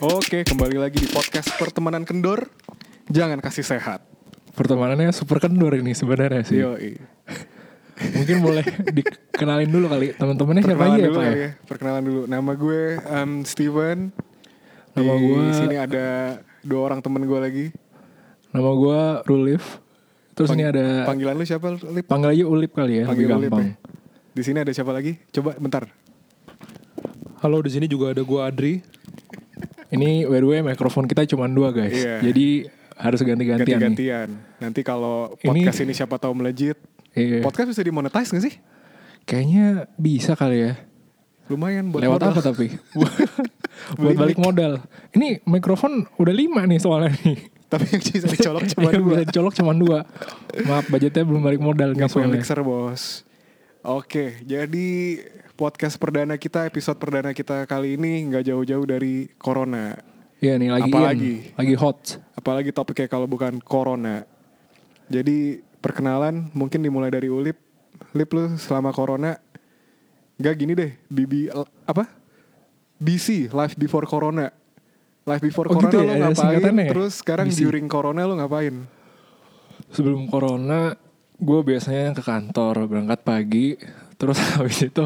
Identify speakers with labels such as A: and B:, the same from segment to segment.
A: Oke, kembali lagi di podcast pertemanan kendor. Jangan kasih sehat.
B: Pertemanannya super kendor ini sebenarnya sih.
A: Yoi.
B: Mungkin boleh dikenalin dulu kali teman-temannya siapa
A: Perkenalan
B: aja ya
A: dulu
B: Pak ya?
A: kali ya. Perkenalan dulu. Nama gue em, Steven.
B: Nama
A: di
B: gue-
A: sini ada dua orang temen gue lagi.
B: Nama gue Rulif. Terus
A: Pang-
B: ini ada
A: Panggilan lu siapa, Lip?
B: panggil aja Ulip kali ya, lebih
A: Panggilan Lip.
B: gampang.
A: ya. Di sini ada siapa lagi? Coba bentar.
C: Halo, di sini juga ada gua Adri.
B: Ini by the way mikrofon kita cuma dua guys.
A: Iya.
B: Jadi harus ganti-gantian nih.
A: Ganti-gantian. Nanti kalau
B: Ini-
A: podcast ini, siapa tahu melejit.
B: Iya.
A: Podcast bisa dimonetize gak sih?
B: Kayaknya bisa kali ya.
A: Lumayan buat
B: Lewat
A: modal.
B: apa tapi? Buat balik modal. Ini mikrofon udah lima nih soalnya nih.
A: Tapi yang bisa dicolok cuma
B: Yang
A: dua.
B: Bisa colok cuma dua. Maaf budgetnya belum balik modal nih
A: Gak punya
B: soalnya.
A: mixer bos Oke jadi podcast perdana kita Episode perdana kita kali ini nggak jauh-jauh dari Corona
B: Iya nih lagi in,
A: Apalagi?
B: lagi hot.
A: Apalagi topiknya kalau bukan Corona Jadi perkenalan mungkin dimulai dari Ulip Lip lu selama Corona Gak gini deh BB l- apa? BC Life Before Corona Life Before
B: Oh,
A: Corona
B: gitu ya,
A: lu
B: ada
A: ngapain
B: singkatannya ya?
A: Terus sekarang
B: BC.
A: during Corona lu ngapain
B: Sebelum corona, gue biasanya ke kantor berangkat pagi, terus habis itu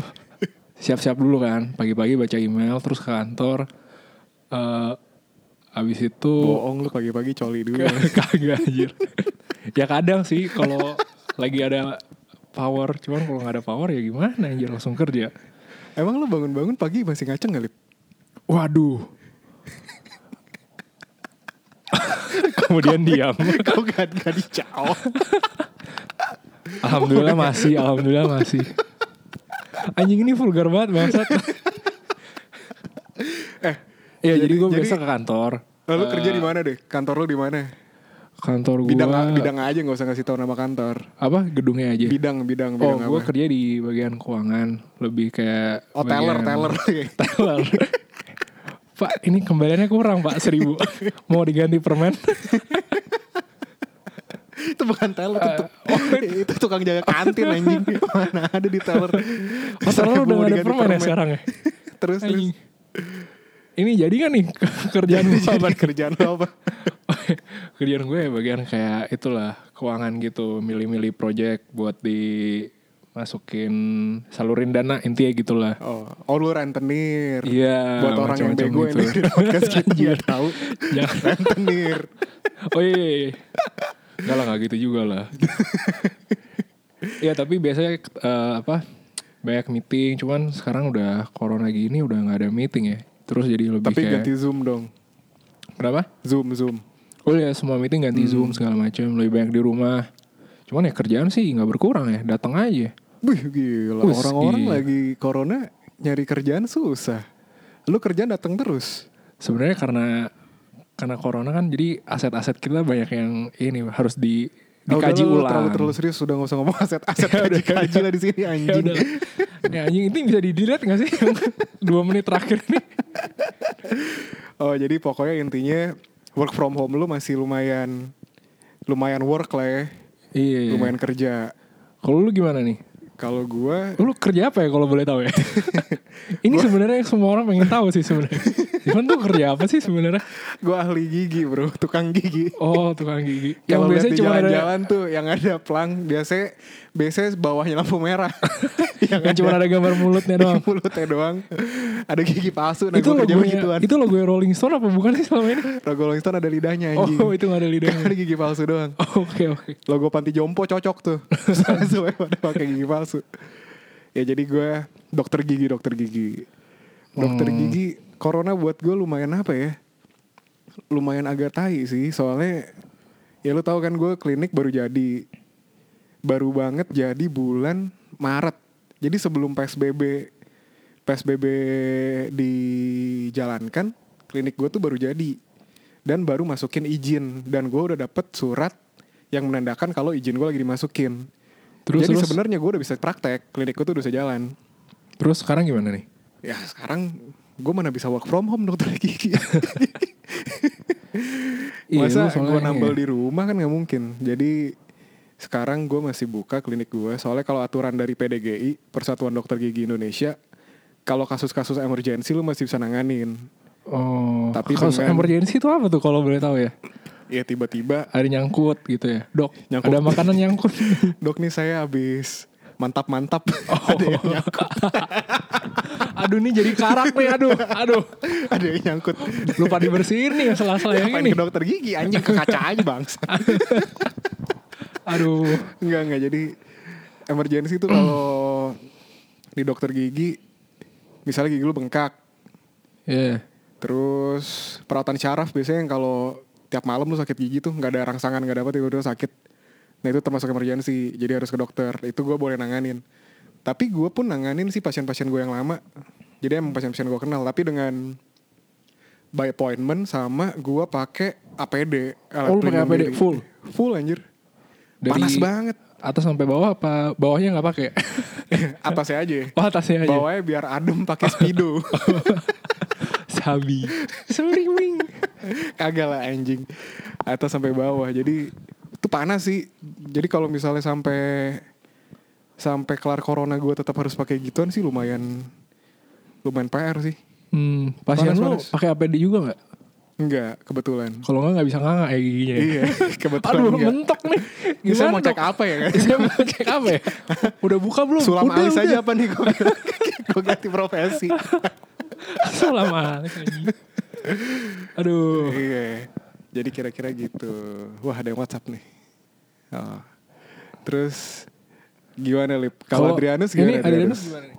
B: siap-siap dulu kan, pagi-pagi baca email, terus ke kantor. Eh, habis itu
A: Bohong lu pagi-pagi coli dulu
B: kagak anjir. ya kadang sih kalau lagi ada power, cuman kalau nggak ada power ya gimana anjir langsung kerja.
A: Emang lu bangun-bangun pagi masih ngaceng gak Lip?
B: Waduh. Kemudian diam.
A: Kau gak, gak dijawab
B: Alhamdulillah masih, alhamdulillah masih. Anjing ini vulgar banget bangsat.
A: Eh,
B: Iya, jadi, gue
A: jadi-
B: biasa ke kantor. Eh.
A: Lalu kerja di mana deh? Kantor lu di mana?
B: Kantor gue
A: Bidang bidang aja nggak usah ngasih tahu nama kantor.
B: apa? Gedungnya aja.
A: Bidang bidang
B: oh,
A: bidang
B: gue
A: apa?
B: kerja di bagian keuangan, lebih kayak
A: Oh, teller,
B: bagian-
A: teller.
B: Teller. Pak, ini kembaliannya kurang, Pak. Seribu. Mau diganti permen?
A: itu bukan teller, itu, tuk-
B: Eh. Oh,
A: itu tukang jaga kantin anjing. Mana ada di teller.
B: Oh, teller
A: Seribu
B: udah
A: mau
B: gak ada
A: diganti
B: permen ya sekarang ya?
A: terus terus.
B: Anjing. Ini jadi kan nih kerjaan
A: Jadi,
B: gue apa?
A: jadi kerjaan lu apa?
B: kerjaan gue ya bagian kayak itulah keuangan gitu milih-milih project buat dimasukin salurin dana intinya gitulah
A: Oh, oh lu rentenir.
B: iya
A: Buat orang yang
B: macam-macam
A: bego
B: gitu. Iya.
A: ini di podcast kita nggak tahu.
B: Jangan.
A: rentenir.
B: oh iya, iya, iya. Enggak lah nggak gitu juga lah Iya tapi biasanya eh, apa banyak meeting cuman sekarang udah corona gini udah nggak ada meeting ya terus jadi lebih
A: Tapi
B: kayak
A: ganti Zoom dong.
B: kenapa
A: Zoom Zoom.
B: Oh ya semua meeting
A: Hmm.
B: ganti Zoom segala macam lebih banyak di rumah. Cuman ya kerjaan sih nggak berkurang ya, datang aja.
A: Wih gila
B: Wih,
A: orang-orang
B: iya.
A: lagi corona nyari kerjaan susah. Lu kerjaan datang terus.
B: Sebenarnya karena karena corona kan jadi aset-aset kita banyak yang ini harus di
A: Ah, udah
B: dikaji
A: lah, lu
B: ulang.
A: Terlalu terlalu serius sudah nggak usah ngomong aset aset
B: Ya udah,
A: kaji kaji lah di sini
B: ya
A: anjing.
B: udah. Ya anjing ini bisa di delete gak sih? Yang Dua menit terakhir ini.
A: Oh jadi pokoknya intinya work from home lu masih lumayan lumayan work lah ya.
B: Iya.
A: Lumayan kerja.
B: Kalau lu gimana nih?
A: Kalau gua
B: Lu kerja apa ya kalau boleh tahu ya? ini sebenarnya yang semua orang pengen tahu sih sebenarnya. Cuman tuh kerja apa sih sebenarnya?
A: gua ahli gigi bro, tukang gigi.
B: Oh tukang gigi. Yang
A: Kalau lihat
B: biasanya
A: di
B: cuma ada
A: jalan-jalan tuh yang ada pelang biasanya biasanya bawahnya lampu merah.
B: yang
D: kan
B: cuma ada gambar mulutnya doang.
A: mulutnya doang. Ada gigi palsu nah
B: itu
A: gua kerja
B: logonya,
A: begituan.
B: itu logo Rolling Stone apa bukan sih selama ini?
A: Logo Rolling Stone ada lidahnya anjing.
B: Oh, itu nggak ada lidahnya.
A: Kan ada gigi palsu doang.
B: Oke oke.
A: Logo panti jompo cocok tuh. Sesuai pada pakai gigi palsu. Ya jadi gue dokter gigi, dokter gigi. Dokter
B: Hmm.
A: gigi, corona buat gue lumayan apa ya? Lumayan agak tai sih, soalnya ya lu tahu kan gue klinik baru jadi baru banget jadi bulan Maret. Jadi sebelum PSBB PSBB dijalankan, klinik gue tuh baru jadi dan baru masukin izin dan gue udah dapet surat yang menandakan kalau izin gue lagi dimasukin.
B: Terus
A: jadi
B: terus,
A: sebenarnya gue udah bisa praktek, klinik gue tuh udah bisa jalan.
B: terus sekarang gimana nih?
A: Ya sekarang gue mana bisa work from home dokter gigi.
B: Iya,
A: Masa
B: lu soalnya
A: gue
B: ini
A: nambel
B: ya.
A: di rumah kan nggak mungkin. Jadi sekarang gue masih buka klinik gue. Soalnya kalau aturan dari PDGI Persatuan Dokter Gigi Indonesia, kalau kasus-kasus emergensi lu masih bisa nanganin.
D: Oh,
A: Tapi
D: kasus
A: dengan-
D: emergency itu apa tuh kalau boleh tahu ya?
A: ya tiba-tiba
D: Ada nyangkut gitu ya. Dok,
A: Nyangkut.
D: ada makanan nyangkut.
A: dok nih saya habis mantap-mantap ada yang nyangkut
D: aduh ini jadi karak nih, aduh. Aduh.
A: ada yang nyangkut
D: Lupa dibersihin nih yang sela-sela yang
A: Ngapain
D: ini.
A: ke dokter gigi anjing ke kaca aja bangsa
D: Aduh.
A: Enggak enggak jadi emergency itu kalau di dokter gigi misalnya gigi lu bengkak
D: Ya.
A: terus perawatan syaraf biasanya yang kalau tiap malam lu sakit gigi tuh nggak ada rangsangan nggak ada apa tiba-tiba sakit nah itu termasuk emergency jadi harus ke dokter itu gue boleh nanganin tapi gue pun nanganin sih pasien-pasien gue yang lama jadi emang pasien-pasien gue kenal tapi dengan by appointment sama gue pakai APD alat
D: Oh, lu
A: pelindung
D: pakai APD,
A: diri.
D: full?
A: full anjir
D: Dari-
A: panas banget
D: Atas sampai bawah apa bawahnya nggak pakai?
A: atasnya aja
D: Oh, atasnya
B: Iya.
D: aja.
A: bawahnya biar adem pakai speedo
D: Sabi. Sorry, wing.
A: kagak lah anjing atas sampai bawah jadi itu panas sih jadi kalau misalnya sampai sampai kelar corona gue tetap harus pakai gituan sih lumayan lumayan pr sih
D: Hmm, pasien
A: Panas,
D: lu
A: panas.
D: pakai APD juga nggak?
A: enggak kebetulan
D: Kalau nggak nggak bisa nganga ya giginya. ya.
A: iya kebetulan
D: Aduh,
A: enggak
D: mentok nih.
A: Ini saya mau
D: dok?
A: cek apa ya, kan?
D: Saya mau cek apa ya? Udah buka belum?
A: sulam
D: udah,
A: alis
D: udah.
A: aja apa nih gue gue ganti profesi
D: Sulam alis aja. Aduh.
A: iya jadi kira-kira gitu wah ada yang whatsapp nih oh. terus gimana lip kalau Adrianus
D: ini
A: gimana
D: Adrianus gimana nih?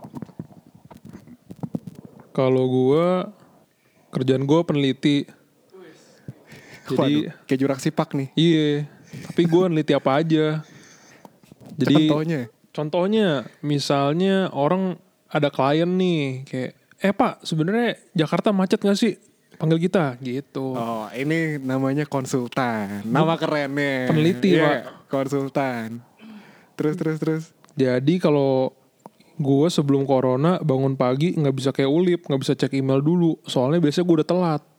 B: Kalau gue kerjaan gue peneliti.
A: Waduh,
B: Jadi
A: kayak jurak sipak nih
B: iya, tapi gue neliti apa aja. Jadi
A: Contohnya?
B: Contohnya, misalnya orang ada klien nih kayak eh Pak, sebenarnya Jakarta macet gak sih? Panggil kita gitu.
A: Oh, ini namanya konsultan. Nama kerennya.
B: Peneliti,
A: Pak. Konsultan. Terus terus terus.
B: Jadi kalau gue sebelum corona bangun pagi nggak bisa kayak ulip, nggak bisa cek email dulu. Soalnya biasanya gue udah telat.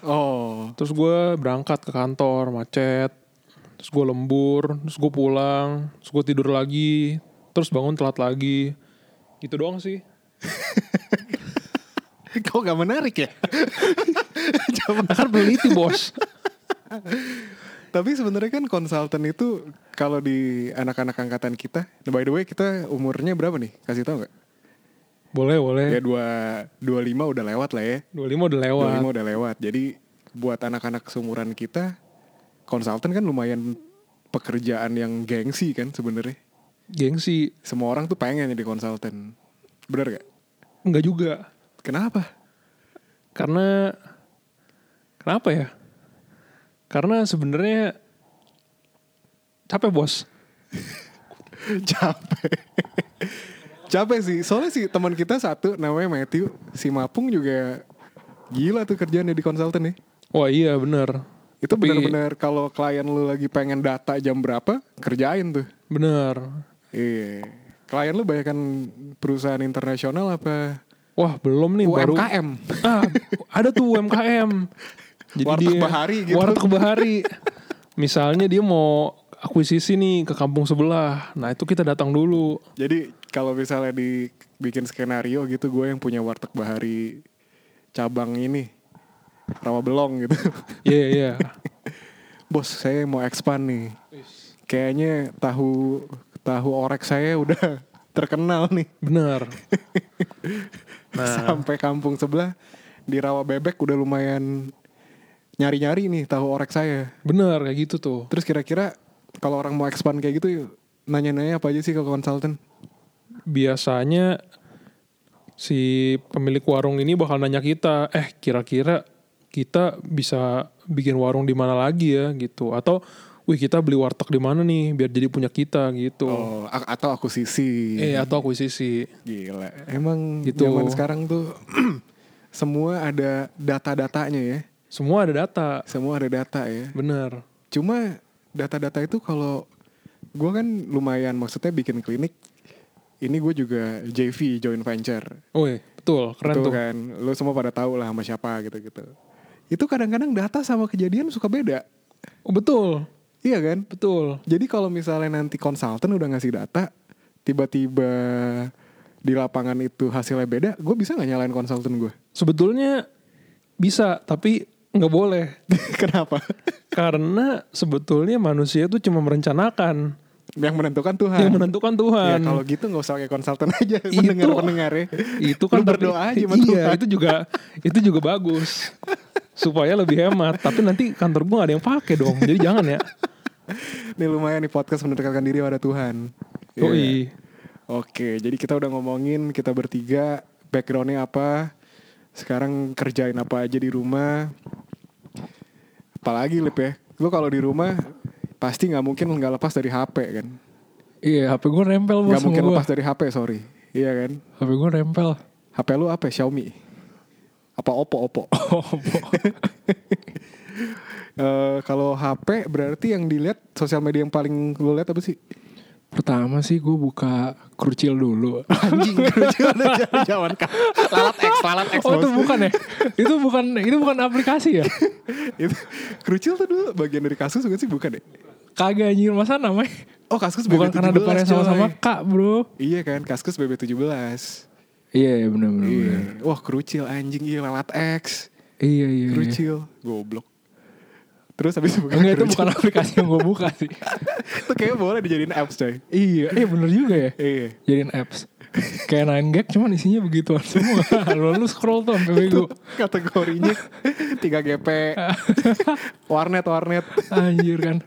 A: Oh,
B: Terus gue berangkat ke kantor macet. Terus gue lembur, terus gue pulang, terus gue tidur lagi, terus bangun telat lagi. Gitu doang sih.
A: kok gak menarik ya?
B: Nah, kan peneliti bos.
A: Tapi sebenarnya kan konsultan itu kalau di anak-anak angkatan kita, nah, by the way kita umurnya berapa nih? Kasih tau nggak?
B: Boleh, boleh.
A: Ya dua dua lima udah lewat lah ya.
B: 25 udah
A: Dua
B: lewat.
A: lima udah lewat. Jadi buat anak-anak seumuran kita, konsultan kan lumayan pekerjaan yang gengsi kan sebenarnya.
B: Gengsi.
A: Semua orang tuh pengen jadi konsultan. Bener gak?
B: Enggak juga.
A: Kenapa?
B: Karena kenapa ya? Karena sebenarnya capek bos.
A: capek capek sih soalnya sih teman kita satu namanya Matthew si Mapung juga gila tuh kerjaannya di konsultan nih
B: Wah iya bener.
A: itu
B: Tapi-
A: benar-benar kalau klien lu lagi pengen data jam berapa kerjain tuh
B: Bener.
A: iya klien lu banyak kan perusahaan internasional apa
B: Wah belum nih baru.
A: UMKM
B: Ah, ada tuh UMKM.
A: Warteg bahari gitu.
B: Warteg bahari. Misalnya dia mau akuisisi nih ke kampung sebelah. Nah itu kita datang dulu.
A: jadi kalau misalnya dibikin skenario gitu gue yang punya warteg bahari cabang ini rawa belong gitu
B: Iya iya.
A: bos saya mau expand nih kayaknya tahu tahu orek saya udah terkenal nih
B: Bener.
A: sampai kampung sebelah di rawa bebek udah lumayan nyari nyari nih tahu orek saya
B: Bener kayak gitu tuh.
A: terus kira kira kalau orang mau expand kayak gitu nanya nanya apa aja sih ke konsultan
B: biasanya si pemilik warung ini bakal nanya kita, eh kira-kira kita bisa bikin warung di mana lagi ya gitu atau wih kita beli warteg di mana nih biar jadi punya kita gitu.
A: oh iya. a- atau aku sisi
B: Eh atau akuisisi.
A: gila emang
B: Gitu.
A: zaman sekarang tuh semua ada data datanya ya
B: Semua ada data.
A: semua ada data ya
B: Bener.
A: Cuma data-data itu kalau gue kan lumayan maksudnya bikin klinik. Ini gue juga JV joint venture.
B: Wih, Oh, iya. betul, keren
A: Tuh
B: tuh.
A: kan, lo semua pada tahu lah sama siapa gitu-gitu. Itu kadang-kadang data sama kejadian suka beda.
B: Oh, betul.
A: Iya kan?
B: Betul.
A: Jadi kalau misalnya nanti konsultan udah ngasih data, tiba-tiba di lapangan itu hasilnya beda, gue bisa nggak nyalain konsultan gue?
B: Sebetulnya bisa tapi nggak boleh
A: Kenapa?
B: karena sebetulnya manusia itu cuma merencanakan
A: Yang menentukan Tuhan.
B: yang menentukan
A: Ya
B: Tuhan
A: kalau gitu nggak usah kayak konsultan aja
B: Itu-
A: pendengar-pendengar ya.
B: itu kan
A: Lu berdoa aja sama
B: iya,
A: Tuhan.
B: itu juga itu juga bagus supaya lebih hemat tapi nanti kantor gua gak ada yang pakai dong jadi jangan ya
A: Ini lumayan nih podcast mendekatkan diri pada Tuhan. Iya.
B: Yoi.
A: Oke, jadi kita udah ngomongin kita bertiga backgroundnya apa, sekarang kerjain apa aja di rumah. Apalagi Lip ya, lu kalau di rumah pasti nggak mungkin nggak lepas dari HP kan,
D: Iya, HP gue nempel bos
A: nggak
D: sama
A: mungkin
D: gua.
A: lepas dari HP sorry, iya kan?
D: HP gue nempel.
A: HP lu apa? Xiaomi? Apa Oppo Oppo?
D: Oh, bo-
A: Eh, kalau HP berarti yang dilihat sosial media yang paling lu lihat apa sih?
D: Pertama sih gue buka krucil dulu.
A: Anjing, kerja udah jalan-jalan kan. Lalat X, lalat X.
D: Oh itu
A: bos.
D: bukan ya? Itu bukan itu bukan aplikasi ya?
A: Itu kerucil tuh dulu bagian dari kasus bukan sih bukan deh.
D: Kagak anjir masa namanya?
A: Oh Kaskus BB17
D: Bukan karena depannya
A: coy.
D: sama-sama Kak, Bro.
A: Iya kan Kaskus BB17
D: Iya, iya benar benar.
A: Iya.
D: benar.
A: Wah kerucil anjing Iya lalat X
D: Iya, iya. iya.
A: Kerucil Goblok Terus habis buka
D: Enggak itu
A: kerucil.
D: bukan aplikasi yang gue buka sih.
A: Itu kayaknya boleh dijadiin apps coy
D: Iya, iya bener juga ya.
A: Iya
D: Jadiin apps. Kayak 9 gag cuman isinya begituan semua. Lalu lu scroll tuh sampai
A: Itu
D: bego.
A: kategorinya 3GP Warnet-warnet
D: Anjir kan.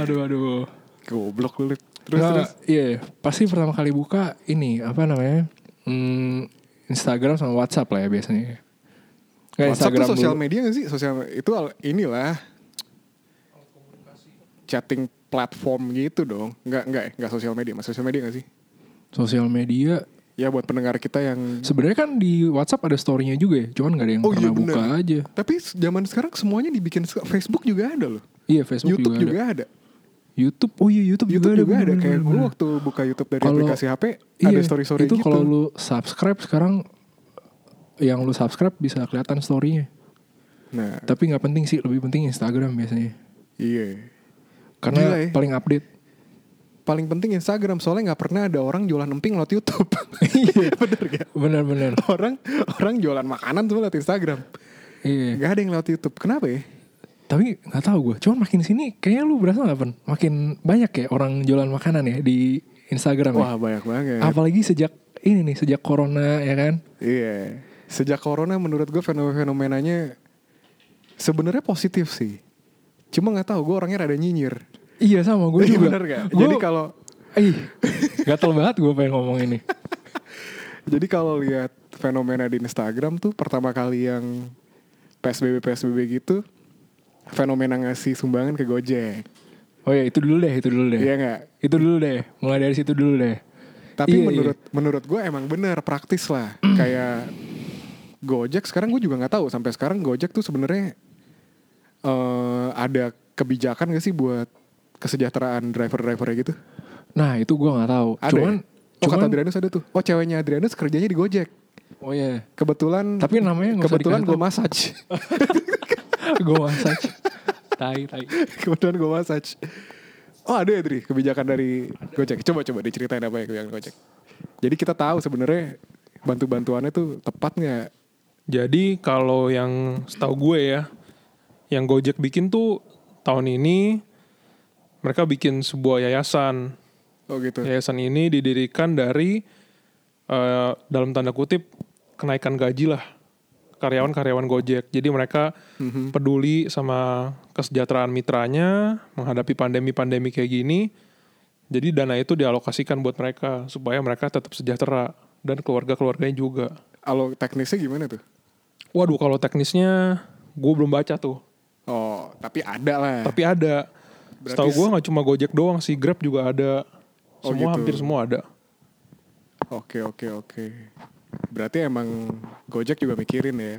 D: Aduh aduh.
A: Goblok lu Lip. Terus
D: Nggak,
A: terus
D: Iya, pasti pertama kali buka ini apa namanya? Hmm, Instagram sama WhatsApp lah ya biasanya. Nggak,
A: WhatsApp tuh sosial
D: dulu.
A: media gak sih? Sosial itu al- inilah chatting platform gitu dong. Enggak enggak enggak sosial media, mas sosial media gak sih?
D: Sosial media.
A: Ya buat pendengar kita yang
D: Sebenarnya kan di WhatsApp ada story-nya juga ya, cuman nggak ada yang
A: Oh,
D: pernah
A: iya, bener.
D: buka aja.
A: Tapi zaman sekarang semuanya dibikin se- Facebook juga ada loh.
D: Iya, Facebook
A: YouTube
D: juga, ada.
A: juga ada.
D: YouTube. Oh iya, YouTube,
A: YouTube juga ada. Kayak
D: bener, bener,
A: gue
D: bener.
A: waktu buka YouTube dari
D: Kalau- iya,
A: aplikasi HP ada story-story
D: itu
A: gitu.
D: kalau lu subscribe sekarang yang lu subscribe bisa kelihatan story-nya.
A: Nah,
D: Tapi nggak penting sih, lebih penting Instagram biasanya.
A: iya.
D: Karena
A: Gila ya.
D: paling update.
A: Paling penting Instagram soalnya nggak pernah ada orang jualan emping lewat YouTube.
D: Iya.
A: Bener gak?
D: Benar-benar.
A: Orang orang jualan makanan tuh lewat Instagram.
D: Iya.
A: Gak ada yang lewat YouTube. Kenapa ya?
D: Tapi nggak tahu gue. Cuman makin sini kayaknya lu berasa nggak pen? Makin banyak ya orang jualan makanan ya di Instagram ya.
A: Wah banyak banget.
D: Apalagi sejak ini nih sejak corona ya kan.
A: Iya. Sejak corona menurut gue fenomena-fenomenanya sebenarnya positif sih. Cuma nggak tahu gue orangnya rada nyinyir.
D: Iya sama gue
A: Iya,
D: juga.
A: bener nggak?
D: Gua-
A: Jadi kalau
D: ih gatel banget gue pengen ngomong ini.
A: Jadi kalau lihat fenomena di Instagram tuh pertama kali yang PSBB PSBB gitu fenomena ngasih sumbangan ke Gojek.
D: Oh ya itu dulu deh, itu dulu deh.
A: Iya nggak?
D: Itu dulu deh. Mulai dari situ dulu deh.
A: Tapi
D: Iya,
A: menurut menurut gue emang bener praktis lah. Kayak Gojek sekarang gue juga nggak tahu sampai sekarang Gojek tuh sebenarnya eh ada kebijakan gak sih buat kesejahteraan driver-drivernya gitu?
D: Nah itu gue nggak tahu.
A: Ada.
D: Cuman,
A: ya? oh
D: cuman,
A: kata Adrianus ada tuh. Oh ceweknya Adrianus kerjanya di Gojek.
D: oh ya.
A: Kebetulan
D: Tapi namanya nggak usah
A: kebetulan
D: dikasih
A: gue massage.
D: gue massage. tai, tai.
A: Kebetulan gue massage. Oh ada ya Dri kebijakan dari Gojek. Coba coba diceritain apa ya kebijakan Gojek. Jadi kita tahu sebenarnya bantu-bantuannya tuh tepat nggak?
B: Jadi kalau yang setahu gue ya, yang Gojek bikin tuh tahun ini mereka bikin sebuah yayasan.
A: Oh gitu.
B: Yayasan ini didirikan dari eh, dalam tanda kutip kenaikan gaji lah karyawan-karyawan Gojek. Jadi mereka
A: Mhm.
B: peduli sama kesejahteraan mitranya menghadapi pandemi-pandemi kayak gini. Jadi dana itu dialokasikan buat mereka supaya mereka tetap sejahtera dan keluarga-keluarganya juga.
A: Kalau teknisnya gimana tuh?
B: Waduh, kalau teknisnya gue belum baca tuh.
A: Oh tapi ada lah.
B: Tapi ada.
A: Berarti
B: Setahu gue nggak cuma Gojek doang sih, Grab juga ada.
A: Oh,
B: Semua
A: gitu.
B: hampir semua ada.
A: Oke oke oke. Berarti emang Gojek juga mikirin ya.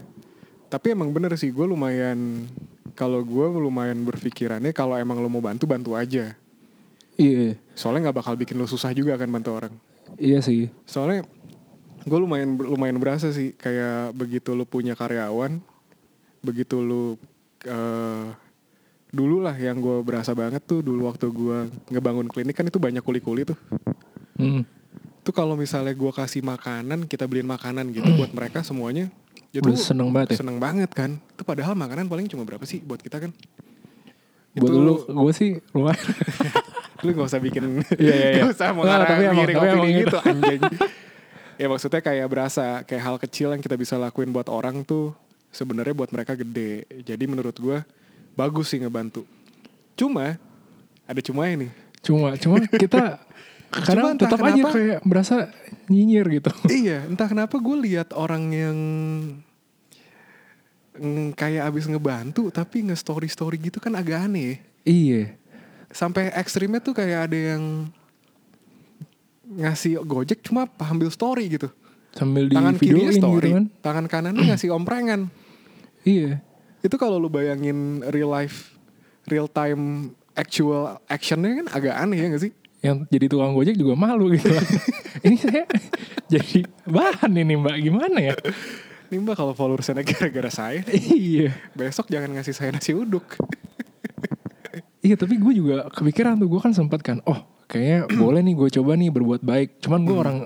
A: Tapi emang bener sih gue lumayan kalau gue lumayan berpikirannya kalau emang lo mau bantu bantu aja.
D: Iya,
A: Soalnya nggak bakal bikin lo susah juga kan bantu orang.
D: iya sih.
A: soalnya gue lumayan lumayan berasa sih kayak begitu lu punya karyawan begitu lu eh dulu lah yang gue berasa banget tuh dulu waktu gue ngebangun klinik kan itu banyak kuli-kuli tuh
D: Hmm.
A: tuh kalau misalnya gue kasih makanan kita beliin makanan gitu buat mereka semuanya Jadi lu
D: Udah seneng banget ya.
A: seneng banget kan. Itu padahal makanan paling cuma berapa sih buat kita kan?
D: Buat lu, gue sih lumayan.
A: lu nggak usah bikin
D: Iya, iya, iya.
A: nggak usah mau
D: Nggak,
A: ngarang
D: tapi emang-
A: miring
D: tapi
A: opini
D: emang
A: gitu anjing ya maksudnya kayak berasa kayak hal kecil yang kita bisa lakuin buat orang tuh sebenarnya buat mereka gede jadi menurut gua bagus sih ngebantu cuma ada cuma ini
D: Cuma, cuma kita kadang
A: entah
D: tetap aja
A: kenapa-
D: kayak berasa nyinyir gitu.
A: iya entah kenapa gue lihat orang yang mm, kayak abis ngebantu tapi nge story story gitu kan agak aneh
D: iya.
A: sampai ekstrimnya tuh kayak ada yang ngasih gojek cuma ambil story gitu
D: Sambil di
A: tangan
D: videoin
A: kirinya
D: gitu
A: story,
D: kan.
A: tangan kanannya ngasih omprengan.
D: Iya.
A: Itu kalau lu bayangin real life, real time actual actionnya kan agak aneh ya gak sih?
D: yang jadi tukang gojek juga malu gitu ini saya jadi bahan ini mbak gimana ya
A: Ini mbak kalau followersnya naik gara-gara saya, nih,
D: iya
A: besok jangan ngasih saya nasi uduk.
D: iya tapi gue juga kepikiran tuh gue kan sempat kan oh kayaknya
A: Hmm.
D: boleh nih gue coba nih berbuat baik cuman gue orang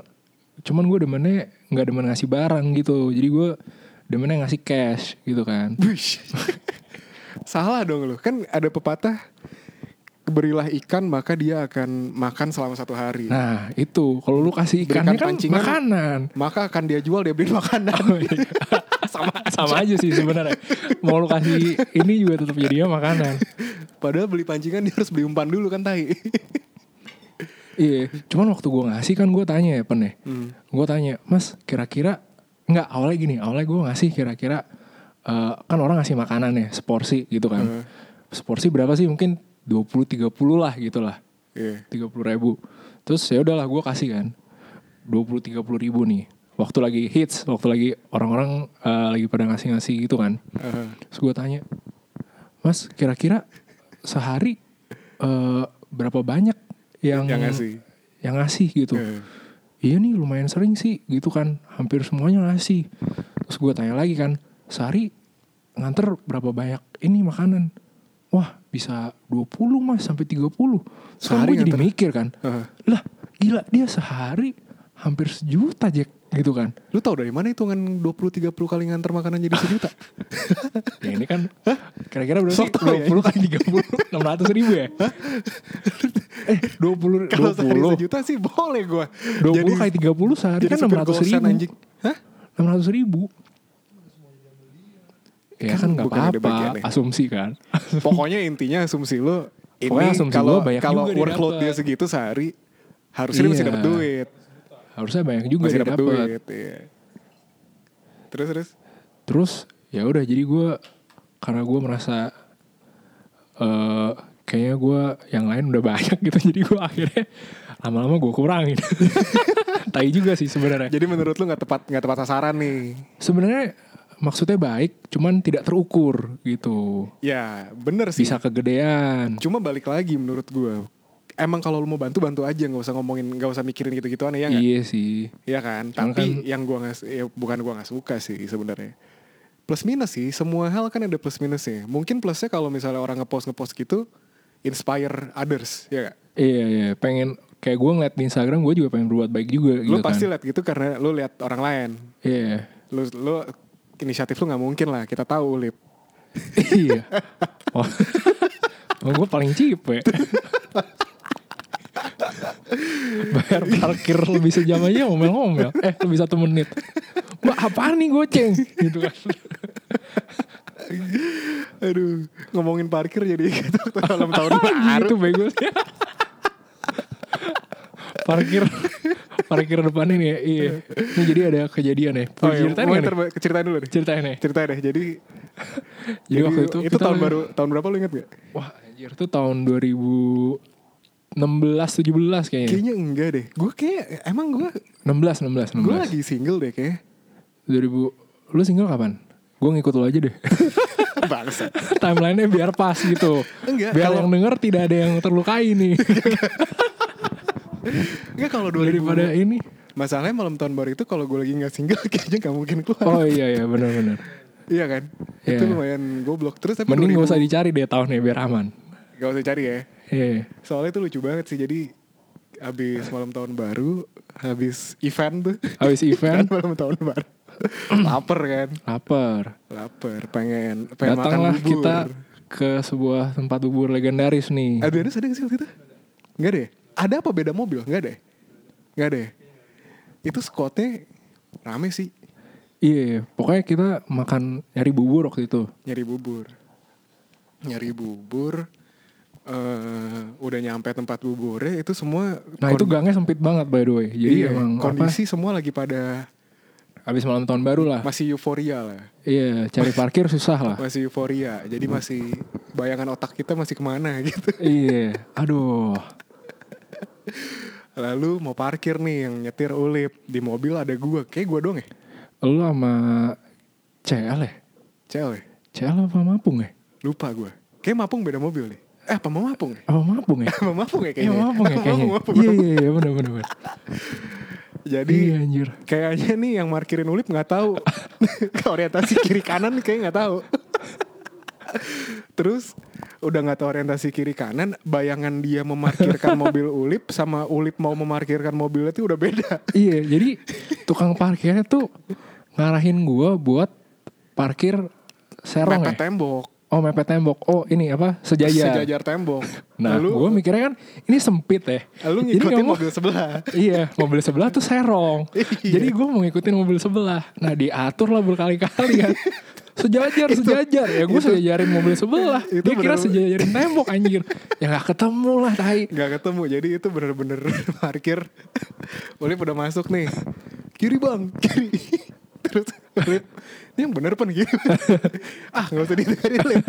D: cuman gue demennya nggak demen ngasih barang gitu jadi gue demennya ngasih cash gitu kan
A: Wish. Salah dong lu. Kan ada pepatah, berilah ikan maka dia akan makan selama satu hari.
D: nah itu kalau lu kasih ikannya
A: Berikan
D: kan
A: pancingan.
D: makanan
A: Maka akan dia jual, dia beli makanan.
D: Oh, iya.
A: Sama
D: sama aja sih sebenarnya mau lu kasih ini juga tetap jadinya makanan
A: Padahal beli pancingan dia harus beli umpan dulu kan, Tai.
D: Iya, cuman waktu gue ngasih kan gue tanya ya pen ya, gue tanya, Mas kira-kira nggak awalnya gini, awalnya gue ngasih kira-kira eh, kan orang ngasih makanan ya seporsi gitu kan, seporsi berapa sih mungkin 20-30 lah gitu lah,
A: Iya.
D: 30 ribu, terus ya udahlah gue kasih kan, 20-30 ribu nih, waktu lagi hits, waktu lagi orang-orang eh, lagi pada ngasih-ngasih gitu kan,
A: Heeh.
D: Terus gue tanya, Mas kira-kira sehari eh, berapa banyak yang
A: Yang ngasih.
D: yang ngasih gitu?
A: Iya.
D: Iya nih lumayan sering sih gitu kan, hampir semuanya ngasih. Terus gue tanya lagi kan, sehari nganter berapa banyak ini makanan? Wah bisa 20 mas sampai
A: Sehari
D: 30 Sehari gue jadi
A: nganter.
D: mikir kan
A: Heeh.
D: Lah gila dia sehari hampir sejuta Jack gitu kan
A: Lu tau dari mana hitungan 20-30 kali nganter makanan jadi sejuta?
D: Ya ini kan kira-kira berapa sih?
A: Sok tau ya?
D: 20 kali 30 600 ribu ya? eh 20
A: Kalau sehari
D: 20
A: sejuta sih boleh gue.
D: 20 kali 30 sehari kan 600 ribu
A: Anjing. Hah?
D: 600 ribu Ya kan
A: Kan
D: nggak
A: bukan ada
D: apa-apa
A: bagiannya.
D: Asumsi kan
A: Pokoknya intinya asumsi lu ini
D: Pokoknya asumsi
A: kalau
D: gua banyak
A: kalau
D: juga dia
A: workload
D: dapet.
A: dia segitu sehari harusnya dia masih
D: Iya.
A: dapat duit.
D: Harusnya banyak juga
A: Masih
D: dia
A: dapat
D: dapat
A: duit, iya. Terus terus
D: Terus ya udah jadi gue karena gue merasa eh kayaknya gue yang lain udah banyak gitu jadi gue akhirnya lama-lama gue kurangin. tai juga sih sebenarnya.
A: jadi menurut lu nggak tepat nggak tepat sasaran nih
D: Sebenarnya maksudnya baik, cuman tidak terukur gitu.
A: ya bener sih
D: Bisa kegedean.
A: cuma balik lagi menurut gue emang kalau lu mau bantu bantu aja nggak usah ngomongin nggak usah mikirin gitu gituan ya nggak?
D: iya sih.
A: Iya kan,
D: Cuman
A: tapi yang gua nggak ya bukan gua nggak suka sih sebenarnya. Plus minus sih, semua hal kan ada plus minusnya. Mungkin plusnya kalau misalnya orang ngepost ngepost gitu, inspire others, ya gak?
D: Iya iya, pengen kayak gue ngeliat di Instagram gue juga pengen berbuat baik juga
A: Lu
D: gitu
A: pasti
D: kan.
A: liat gitu karena lu liat orang lain.
D: Iya.
A: Lu lu inisiatif lu nggak mungkin lah, kita tahu Lip.
D: iya. Oh. gue paling ya. cipe. Bayar parkir lebih sejam aja ngomel-ngomel. Eh lebih satu menit. Mbak apaan nih goceng? Gitu kan.
A: Aduh, ngomongin parkir jadi gitu dalam tahun
D: Ah,
A: baru.
D: gitu bego. parkir parkir depan ini ya. Iya. Ini jadi ada kejadian ya.
A: Oh,
D: Boleh
A: iya,
D: ceritain
A: boleh
D: nggak nih?
A: terba- ceritain dulu deh.
D: Ceritain nih.
A: Ceritain deh. Jadi
D: Jadi, waktu itu
A: itu
D: kita
A: tahun
D: lagi- Iya.
A: baru tahun berapa lu inget gak?
D: Wah, anjir itu tahun 2016 17 kayaknya.
A: Kayaknya enggak deh. Gue kayak emang gue
D: 16 16
A: gue
D: 16.
A: lagi single deh kayaknya.
D: 2000 lu single kapan? Gue ngikut lu aja deh.
A: Bangsa.
D: Timelinenya biar pas gitu.
A: Enggak,
D: biar
A: kalau-
D: yang denger tidak ada yang terlukai nih.
A: Enggak kalau 2000
D: Daripada ini.
A: Masalahnya malam tahun baru itu kalau gue lagi nggak single kayaknya nggak mungkin keluar.
D: Oh iya iya benar-benar.
A: Iya kan? Itu
D: Iya.
A: lumayan goblok. Terus tapi
D: Mending gak
A: 2000
D: usah dicari deh tahunnya biar aman.
A: nggak usah cari ya.
D: Iya.
A: Soalnya itu lucu banget sih. Jadi habis malam tahun baru, habis event tuh.
D: Habis event
A: malam tahun baru. Laper kan.
D: Lapar.
A: Laper, pengen pengen
D: Datanglah
A: makan bubur.
D: kita ke sebuah tempat bubur legendaris nih.
A: Adrianus ada gak sih waktu itu? Enggak deh. Ada apa beda mobil? Enggak deh. Enggak deh. Itu squadnya rame sih
D: Iya, pokoknya kita makan nyari bubur waktu itu.
A: nyari bubur. Nyari bubur eh udah nyampe tempat buburnya itu semua
D: Nah itu gangnya sempit banget by the way. Jadi
A: iya,
D: emang
A: kondisi semua lagi pada
D: apa, abis malam tahun baru lah.
A: masih euforia lah.
D: Iya, cari parkir susah lah.
A: Masih euforia. Jadi
D: Hmm.
A: masih bayangan otak kita masih kemana gitu.
D: iya, aduh.
A: Lalu mau parkir nih yang nyetir ulip di mobil ada gua, kayak gua doang ya.
D: Lu sama CL ya?
A: Cewek,
D: CL apa Mapung ya?
A: lupa gua. Kayak mapung beda mobil nih. Eh, apa mau mapung? ya?
D: Apa Mapung ya?
A: Apa mapung ya
D: Iya
A: kayaknya?
D: Mapung ya
A: Apa
D: kayaknya.
A: Mapung,
D: Iya
A: Mapung.
D: iya iya benar benar. benar.
A: Jadi
D: Iya anjir.
A: kayaknya nih yang markirin ulip nggak tahu. Ke orientasi kiri kanan kayak nggak tahu. Terus udah nggak tahu orientasi kiri kanan, bayangan dia memarkirkan mobil ulip sama ulip mau memarkirkan mobilnya itu udah beda.
D: Iya, jadi tukang parkirnya tuh ngarahin gua buat parkir serong
A: Mepet
D: ya.
A: tembok.
D: Oh mepet tembok. Oh ini apa? Sejajar.
A: Sejajar tembok.
D: Nah,
A: Lalu-
D: gue mikirnya kan ini sempit ya.
A: Lu
D: Jadi
A: ngikutin
D: kamu-
A: mobil sebelah.
D: Iya, mobil sebelah tuh serong.
A: Iya.
D: Jadi gue mau ngikutin mobil sebelah. Nah, diatur lah berkali-kali kan. Sejajar, sejajar. Ya gue sejajarin mobil sebelah.
A: itu
D: Dia kira
A: bener-bener-
D: sejajarin tembok anjir. Ya gak ketemu lah, tai.
A: Gak ketemu, jadi itu bener-bener parkir. Ulip udah masuk nih. Kiri bang, kiri. Terus Ulip, ini yang bener pan kiri. ah gak usah ditarik Ulip.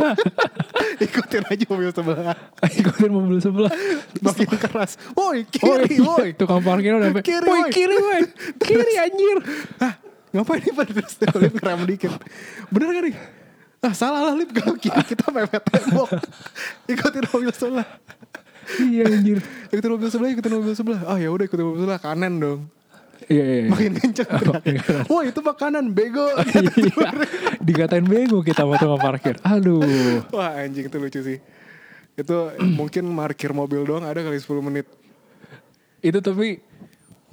A: Ikutin aja mobil sebelah.
D: Ikutin mobil sebelah.
A: Makin keras. Woi
D: Oh,
A: kiri,
D: iya.
A: woi.
D: Tukang parkirnya udah sampai.
A: Kiri,
D: "Woi,
A: woi."
D: kiri, woi. Kiri anjir.
A: Hah, "Ah, ngapain nih pan? Terus Ulip ngerem dikit. Bener gak nih? Ah salah lah Ulip, kalau kiri kita mepet tembok. Ikutin mobil sebelah.
D: Iya anjir.
A: Ikutin mobil sebelah, ikutin mobil sebelah. Ah ya udah ikutin mobil sebelah kanan dong.
D: Iya, iya. iya.
A: makin kenceng teriaknya. Wah itu makanan bego.
D: Iya. Dikatain bego kita sama tukang parkir. Aduh.
A: Wah anjing itu lucu sih. Itu mungkin parkir mobil doang ada kali 10 menit.
D: Itu tapi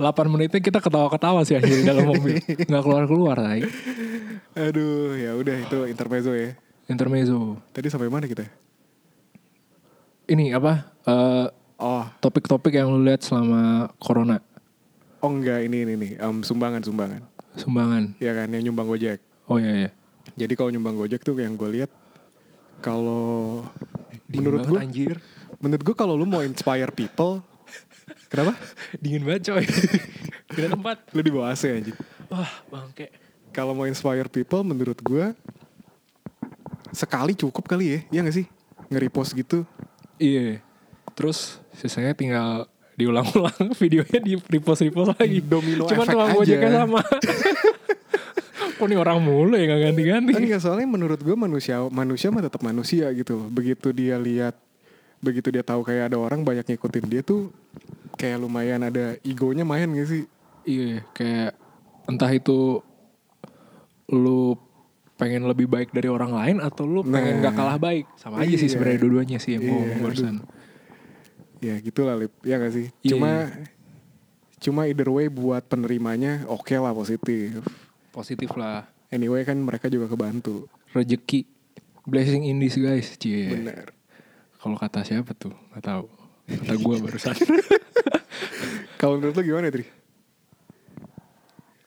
D: 8 menitnya kita ketawa-ketawa sih anjir di dalam mobil. Nggak keluar-keluar, tai.
A: Aduh ya udah itu intermezzo ya.
D: Intermezzo.
A: Tadi sampai mana kita? ya?
D: Ini apa? eh,
A: Oh,
D: topik-topik yang lu lihat selama corona.
A: oh enggak ini ini nih Em, sumbangan sumbangan.
D: Sumbangan.
A: Ya kan yang nyumbang gojek.
D: Oh iya iya.
A: Jadi kalau nyumbang gojek tuh yang gue lihat kalau
D: Dingin
A: menurut
D: banget,
A: gue
D: anjir.
A: menurut gue kalau lu mau inspire people kenapa?
D: Dingin banget coy. Kita tempat.
A: Lu di bawah AC anjing.
D: Wah, bangke.
A: kalau mau inspire people menurut gue sekali cukup kali ya ya nggak sih nge-repost gitu
D: Iya. Terus sisanya tinggal diulang-ulang videonya di repost-repost lagi.
A: Domino
D: Cuman
A: effect
D: tukang
A: aja.
D: gojeknya sama. Kok nih orang mulu ya gak ganti-ganti.
A: enggak Kan soalnya menurut gue manusia manusia mah tetap manusia gitu loh begitu dia lihat begitu dia tahu kayak ada orang banyak ngikutin dia tuh kayak lumayan ada egonya main gak sih
D: Iya, kayak entah itu lu pengen lebih baik dari orang lain atau lu pengen
A: Nah.
D: gak kalah baik. Sama aja sih
A: Iya.
D: sebenarnya dua-duanya sih yang
A: Iya,
D: gua ngomong barusan.
A: ya gitu lah lip ya gak sih
D: Iya,
A: cuma
D: iya.
A: cuma either way buat penerimanya oke lah positif
D: Positif lah.
A: anyway kan mereka juga kebantu
D: Rezeki. Blessing in this guys. Cie.
A: bener
D: Kalau kata siapa tuh? Gak tahu. Kata gua barusan.
A: Kalau menurut lu gimana, Tri?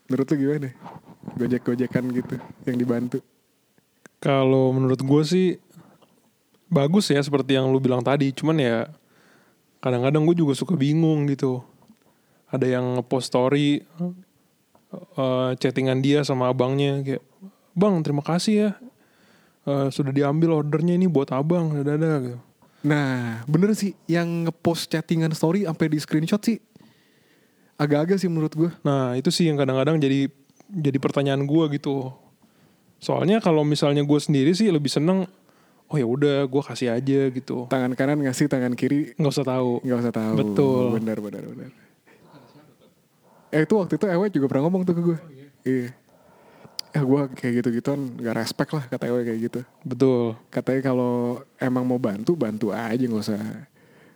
A: Menurut lu gimana? Gojek-gojekan gitu yang dibantu.
B: Kalau menurut gue sih bagus ya seperti yang lu bilang tadi. Cuman ya kadang-kadang gue juga suka bingung gitu. Ada yang nge-post story eh, chattingan dia sama abangnya kayak bang terima kasih ya Eh, sudah diambil ordernya ini buat abang dadah gitu.
A: Nah, bener sih yang ngepost chattingan story sampai di screenshot sih agak-agak sih menurut gue.
B: Nah itu sih yang kadang-kadang jadi jadi pertanyaan gue gitu. Soalnya kalau misalnya gue sendiri sih lebih seneng oh ya udah gue kasih aja gitu
A: Tangan kanan ngasih, tangan kiri
B: nggak usah tahu.
A: nggak usah tahu.
B: Betul.
A: Bener, bener, bener. Eh itu waktu itu Ewe juga pernah ngomong tuh ke gue. Iya. Eh gue kayak gitu-gituan gak respect lah kata Ewe kayak gitu.
B: Betul.
A: Katanya kalau emang mau bantu, bantu aja nggak usah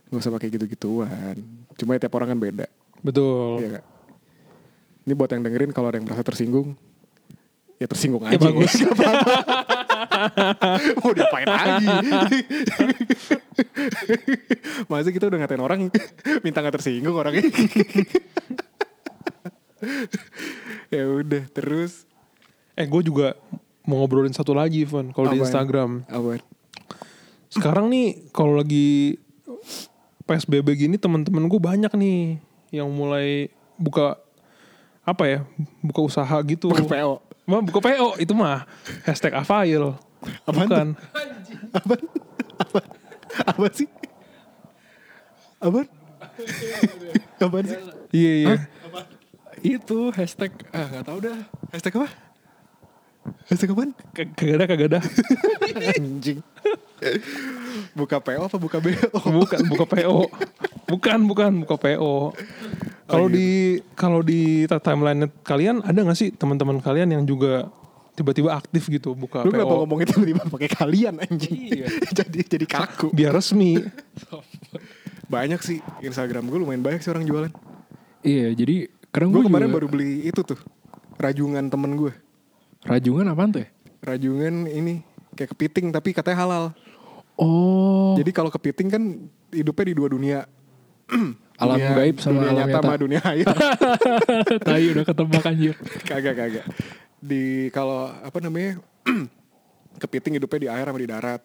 A: nggak usah pakai gitu-gituan. Cuma ya tiap orang kan beda.
B: Betul.
A: Iya Kak. Ini buat yang dengerin kalau ada yang merasa tersinggung ya tersinggung
B: Ya,
A: aja
B: bagus.
A: Nggak apa-apa. mau diapain lagi masa kita udah ngatain orang minta nggak tersinggung orangnya ya udah terus
B: Eh gue juga mau ngobrolin satu lagi Van kalau di
A: Apaan?
B: Instagram.
A: apa
B: Sekarang nih kalau lagi PSBB gini teman-teman gue banyak nih yang mulai buka apa ya buka usaha gitu.
A: Buka PO.
B: Mah buka PO itu mah hashtag avail.
A: Apaan
B: Bukan.
A: apa apa apa sih apa apa sih
B: Iya iya.
D: Itu hashtag ah nggak tahu dah.
A: hashtag apa hashtag apa
B: K- Kagak ada kagak ada.
A: anjing buka PO apa buka BO
B: bukan buka PO. Bukan bukan buka Oh, PO. Kalau di kalau di ta- timeline kalian ada nggak sih teman-teman kalian yang juga tiba-tiba aktif gitu buka
A: Lu
B: PO?
A: kenapa ngomongnya tiba-tiba pakai kalian anjing?
D: Iya.
A: jadi jadi kaku.
B: biar resmi.
A: Banyak sih Instagram gue lumayan banyak sih orang jualan.
D: Iya, jadi kadang
A: Gue
D: gue
A: kemarin
D: juga-
A: baru beli itu tuh. Rajungan temen gue.
D: rajungan apaan tuh? ya?
A: Rajungan ini kayak kepiting tapi katanya halal.
D: Oh,
A: Jadi kalau kepiting kan hidupnya di dua dunia.
D: alam
A: Dunia-
D: gaib
A: iya,
D: sama
A: dunia
D: alam
A: nyata
D: nyata.
A: sama dunia air.
D: Tai udah ketebak anjir.
A: kagak kagak. Di kalau apa namanya? kepiting hidupnya di air sama di darat.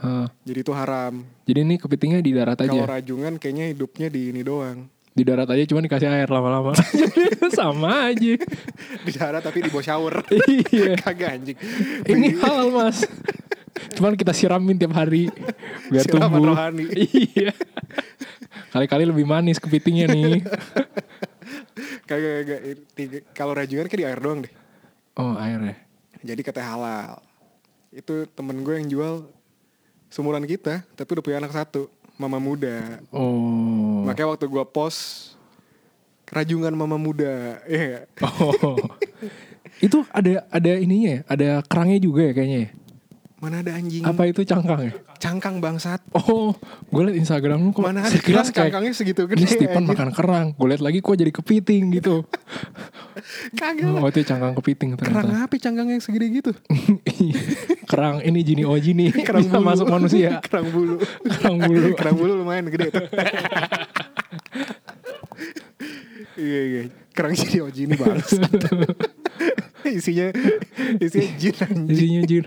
D: Hah.
A: Jadi itu haram.
D: Jadi ini kepitingnya di darat
A: Kalau
D: aja.
A: rajungan kayaknya hidupnya di ini doang.
D: Di darat aja cuman dikasih air lama-lama. Jadi sama aja.
A: Di darat tapi di bawah shower.
D: Iya.
A: Kagak anjing.
D: Ini halal, Mas. Cuman kita siramin tiap hari biar
A: Siraman
D: tumbuh.
A: rohani.
D: iya. Kali-kali lebih manis kepitingnya nih.
A: Kagak kagak Tiga- kalau rajungan kayak di air doang deh.
D: Oh, air ya.
A: Jadi kata halal. Itu temen gue yang jual seumuran kita, tapi udah punya anak satu, mama muda.
D: Oh.
A: Makanya waktu gue post rajungan mama muda, iya.
D: Oh. Itu ada ada ininya ya, ada kerangnya juga ya kayaknya. ya?
A: Mana ada anjing?
D: Apa itu cangkang ya?
A: Cangkang bangsat.
D: Oh, gue liat Instagram lu kok
A: Mana ada
D: saya kira
A: kelas
D: kayak,
A: cangkangnya segitu
D: Ini
A: gede.
D: Stephen
A: anjing.
D: makan kerang. Gue liat lagi kok jadi kepiting gitu.
A: Kagak. lah.
D: oh, itu cangkang kepiting
A: Kerang
D: ternyata.
A: apa cangkangnya segede gitu?
D: Iya. kerang ini jini oh jini
A: Kerang
D: bisa masuk manusia. Iya.
A: Kerang bulu.
D: kerang bulu.
A: Kerang bulu lumayan gede tuh. iya iya. Kerang jadi oji ini balas. isinya isinya jin anjing.
D: Isinya jin.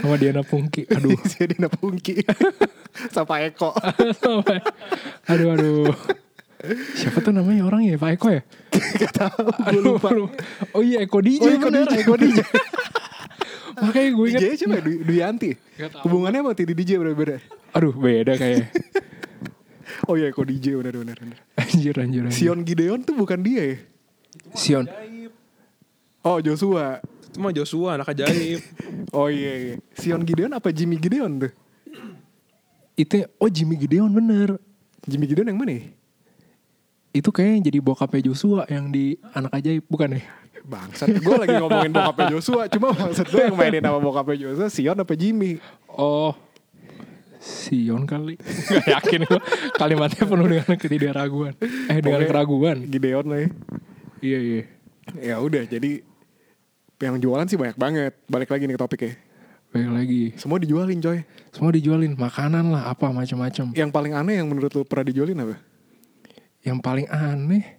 D: Sama Diana Pungki. Aduh.
A: Isinya Dina Pungki. Sama Eko.
D: Sama- aduh aduh. Siapa tuh namanya orang ya? Pak Eko ya? Aduh, aduh. Oh iya Eko
A: Oh
D: DJ
A: Eko
D: bener.
A: DJ, Eko DJ.
D: Makanya gue inget.
A: DJ siapa ya? Du- Duyanti. Hubungannya sama Titi DJ bener-bener.
D: Aduh beda kayak.
A: Oh iya Eko DJ bener-bener.
D: Iya.
A: bener.
D: Anjir anjir. anjir.
A: Sion Gideon tuh bukan dia ya?
D: Sion.
A: Oh Joshua.
B: Itu mah Joshua anak ajaib.
A: Oh iya iya. Sion Gideon apa Jimmy Gideon tuh?
D: Itu oh Jimmy Gideon bener.
A: Jimmy Gideon yang mana ya?
D: Itu kayaknya yang jadi bokapnya Joshua yang di anak ajaib bukan ya?
A: Bangsat, gue lagi ngomongin bokapnya Joshua Cuma maksud gue yang mainin nama bokapnya Joshua Sion apa Jimmy
D: Oh. Sion kali. Gak yakin gue. Kalimatnya penuh dengan ketidakraguan. Eh dengan
A: Pokoknya
D: keraguan.
A: Gideon lah ya
D: Iya iya.
A: Ya udah jadi Yang jualan sih banyak banget Balik lagi nih ke topiknya
D: Baik lagi.
A: Semua dijualin coy
D: Semua dijualin makanan lah apa macam-macam.
A: Yang paling aneh yang menurut lu pernah dijualin apa?
D: Yang paling aneh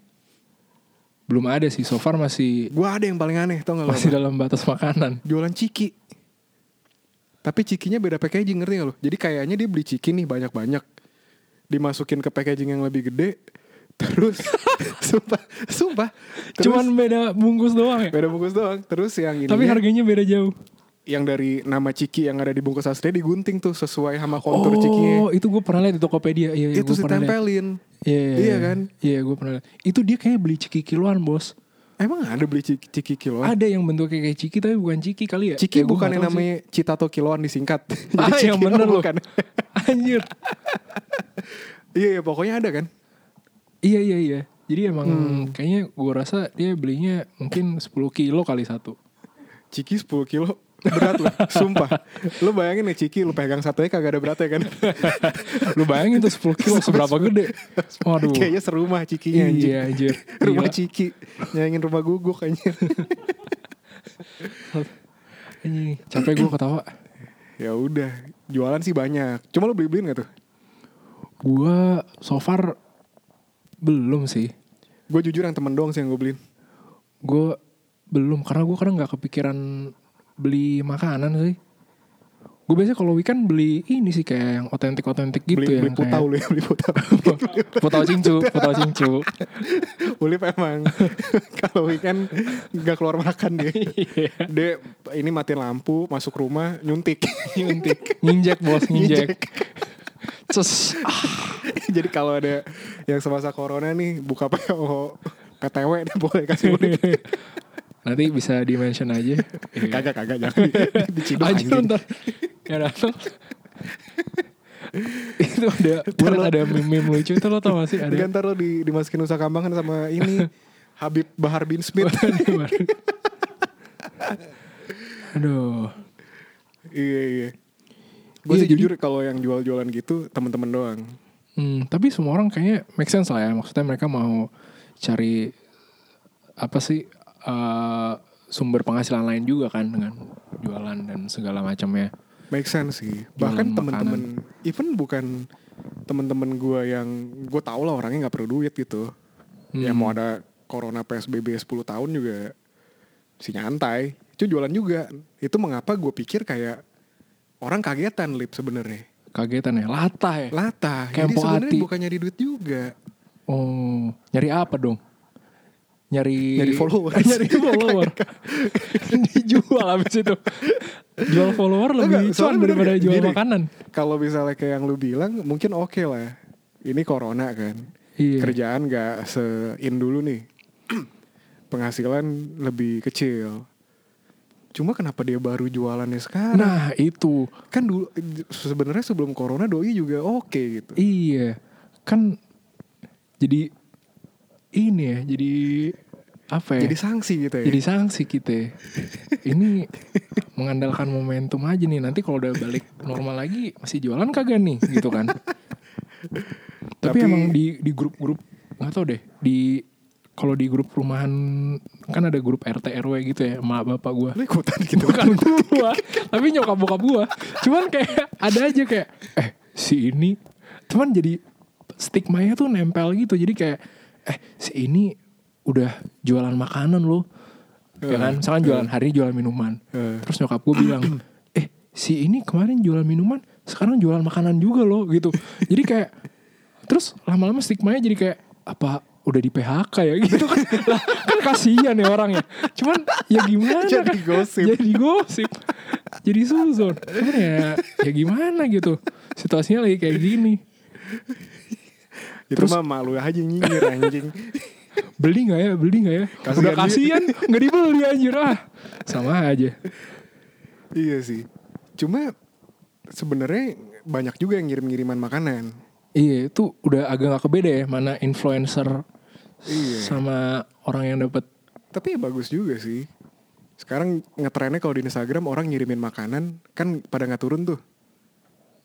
D: belum ada sih so far masih
A: Gue ada yang paling aneh tau gak lu
D: masih
A: apa?
D: dalam batas makanan.
A: Jualan ciki Tapi cikinya beda packaging ngerti gak lu? Jadi kayaknya dia beli ciki nih banyak-banyak Dimasukin ke packaging yang lebih gede Terus Sumpah Sumpah Terus,
D: Cuman beda bungkus doang ya.
A: Beda bungkus doang Terus yang ini
D: Tapi harganya beda jauh.
A: yang dari nama Ciki yang ada di bungkus aslinya digunting tuh sesuai sama kontur Cikinya.
D: Oh, itu gue pernah lihat di Tokopedia. Iya, iya,
A: itu
D: gua pernah lihat.
A: ditempelin.
D: Iya, iya,
A: Iya kan?
D: Iya, gue pernah lihat. Itu dia kayak beli ciki kiloan, Bos.
A: Emang ada beli Ciki, ciki kiloan?
D: Ada yang bentuknya kayak ciki tapi bukan ciki kali ya.
A: Ciki
D: Ya, gua
A: bukan
D: nggak
A: yang
D: tahu sih.
A: namanya cita atau kiloan disingkat.
D: Ah,
A: Jadi
D: yang
A: Ciki
D: bener loh.
A: bukan.
D: Anjir.
A: Iya, iya, pokoknya ada kan.
D: Iya, iya, iya. Jadi emang
A: Hmm.
D: kayaknya gue rasa dia belinya mungkin 10 kilo kali satu.
A: Ciki 10 kilo berat loh, sumpah. Lu bayangin nih Ciki lu pegang satunya kagak ada beratnya kan.
D: Lu bayangin tuh 10 kilo seberapa gede. Waduh.
A: Kayaknya serumah Cikinya anjing.
D: Iya, anjir.
A: Rumah
D: Gila.
A: Ciki, nyayangin rumah guguk anjir.
D: Anjing, capek gue ketawa.
A: Ya udah, jualan sih banyak. Cuma lo beli-beliin gak tuh?
D: Gue so far belum sih.
A: Gue jujur yang temen doang sih yang gue beliin.
D: Gue belum karena gue kadang nggak kepikiran beli makanan sih. Gue biasanya kalau weekend beli ini sih kayak yang otentik-otentik gitu
A: beli,
D: ya.
A: beli putau lu ya, beli putau.
D: Putau cincu, putau cincu.
A: Ulip emang kalau weekend nggak keluar makan dia.
D: Iya.
A: dia ini matiin lampu, masuk rumah, nyuntik.
D: Nyuntik. Nginjek bos, nginjek.
A: Nginjek.
D: Cus. Ah,
A: Jadi kalau ada yang semasa corona nih buka PO KTW dia boleh kasih ulip.
D: Nanti bisa di mention aja.
A: kagak kagak jangan di, diciduk
D: Aja
A: anjing.
D: Iya. ntar Yang datang Itu ada Gue liat ada meme-meme lucu Itu lo tau gak sih
A: Enggak,
D: Ada
A: kan ntar lo di, dimasukin Nusa Kambangan sama ini Habib Bahar bin Smith. Iya,
D: Aduh
A: iya iya. Gue
D: Iya,
A: sih
D: jadi-
A: jujur kalau yang jual-jualan gitu temen-temen doang.
D: Hmm, Tapi semua orang kayaknya Make sense lah ya Maksudnya mereka mau Cari Apa sih eh, Sumber penghasilan lain juga kan Dengan jualan dan segala macamnya
A: Make sense sih.
D: Jualan
A: Bahkan temen-temen, even bukan temen-temen gue yang gue tau lah orangnya nggak perlu duit gitu. Ya mau ada corona PSBB 10 tahun juga si nyantai. Itu jualan juga. Itu mengapa gue pikir kayak orang kagetan lip sebenarnya.
D: Kagetan ya Latah ya
A: Latah. Jadi
D: Kempo
A: sebenarnya
D: hati.
A: bukan nyari duit juga.
D: Oh Nyari apa dong Nyari
A: Nyari follower.
D: Nyari follower Dijual abis itu Jual follower lebih
A: Enggak,
D: cuan
A: soalnya bener
D: daripada
A: gak?
D: jual
A: Gini,
D: makanan
A: Kalau misalnya kayak yang lu bilang mungkin oke lah. Ini corona kan.
D: Iya.
A: Kerjaan gak se-in dulu nih. Penghasilan lebih kecil. Cuma kenapa dia baru jualannya sekarang?
D: Nah itu
A: Kan dulu sebenarnya sebelum corona doi juga oke gitu.
D: Iya Kan Jadi Ini ya Jadi Apa ya
A: Jadi sanksi gitu ya.
D: Jadi sanksi kita ya. Ini Mengandalkan momentum aja nih Nanti kalau udah balik normal lagi Masih jualan kagak nih Gitu kan Tapi,
A: Tapi-
D: emang di di grup-grup nggak tau deh Di Kalau di grup rumahan Kan ada grup RT RW gitu ya Sama bapak gue
A: Lu ikutan gitu
D: bukan gua tapi nyokap bokap gua cuman kayak ada aja kayak eh si ini cuman jadi stigmanya tuh nempel gitu jadi kayak eh si ini udah jualan makanan loh ya kan misalkan jualan hari jualan minuman
A: Eh.
D: terus nyokap gua bilang eh si ini kemarin jualan minuman sekarang jualan makanan juga loh gitu jadi kayak terus lama-lama stigmanya jadi kayak apa udah di PHK ya gitu kan lah kan kasihan ya orangnya cuman ya gimana
A: Jadi
D: kan
A: gosip.
D: jadi gosip jadi suzon Cuman ya ya gimana gitu situasinya lagi kayak gini
A: Itu mah malu aja nyinyir anjing.
D: beli nggak ya beli nggak ya
A: Kasihan
D: udah
A: dia.
D: kasihan nggak dibeli anjir ah sama aja
A: iya sih. Cuma sebenarnya banyak juga yang ngirim-ngiriman makanan.
D: iya itu udah agak nggak kebeda ya mana influencer
A: Iya.
D: sama orang yang dapat
A: Tapi ya bagus juga sih. Sekarang ngetrennya kalau di Instagram orang ngirimin makanan kan pada nggak turun tuh.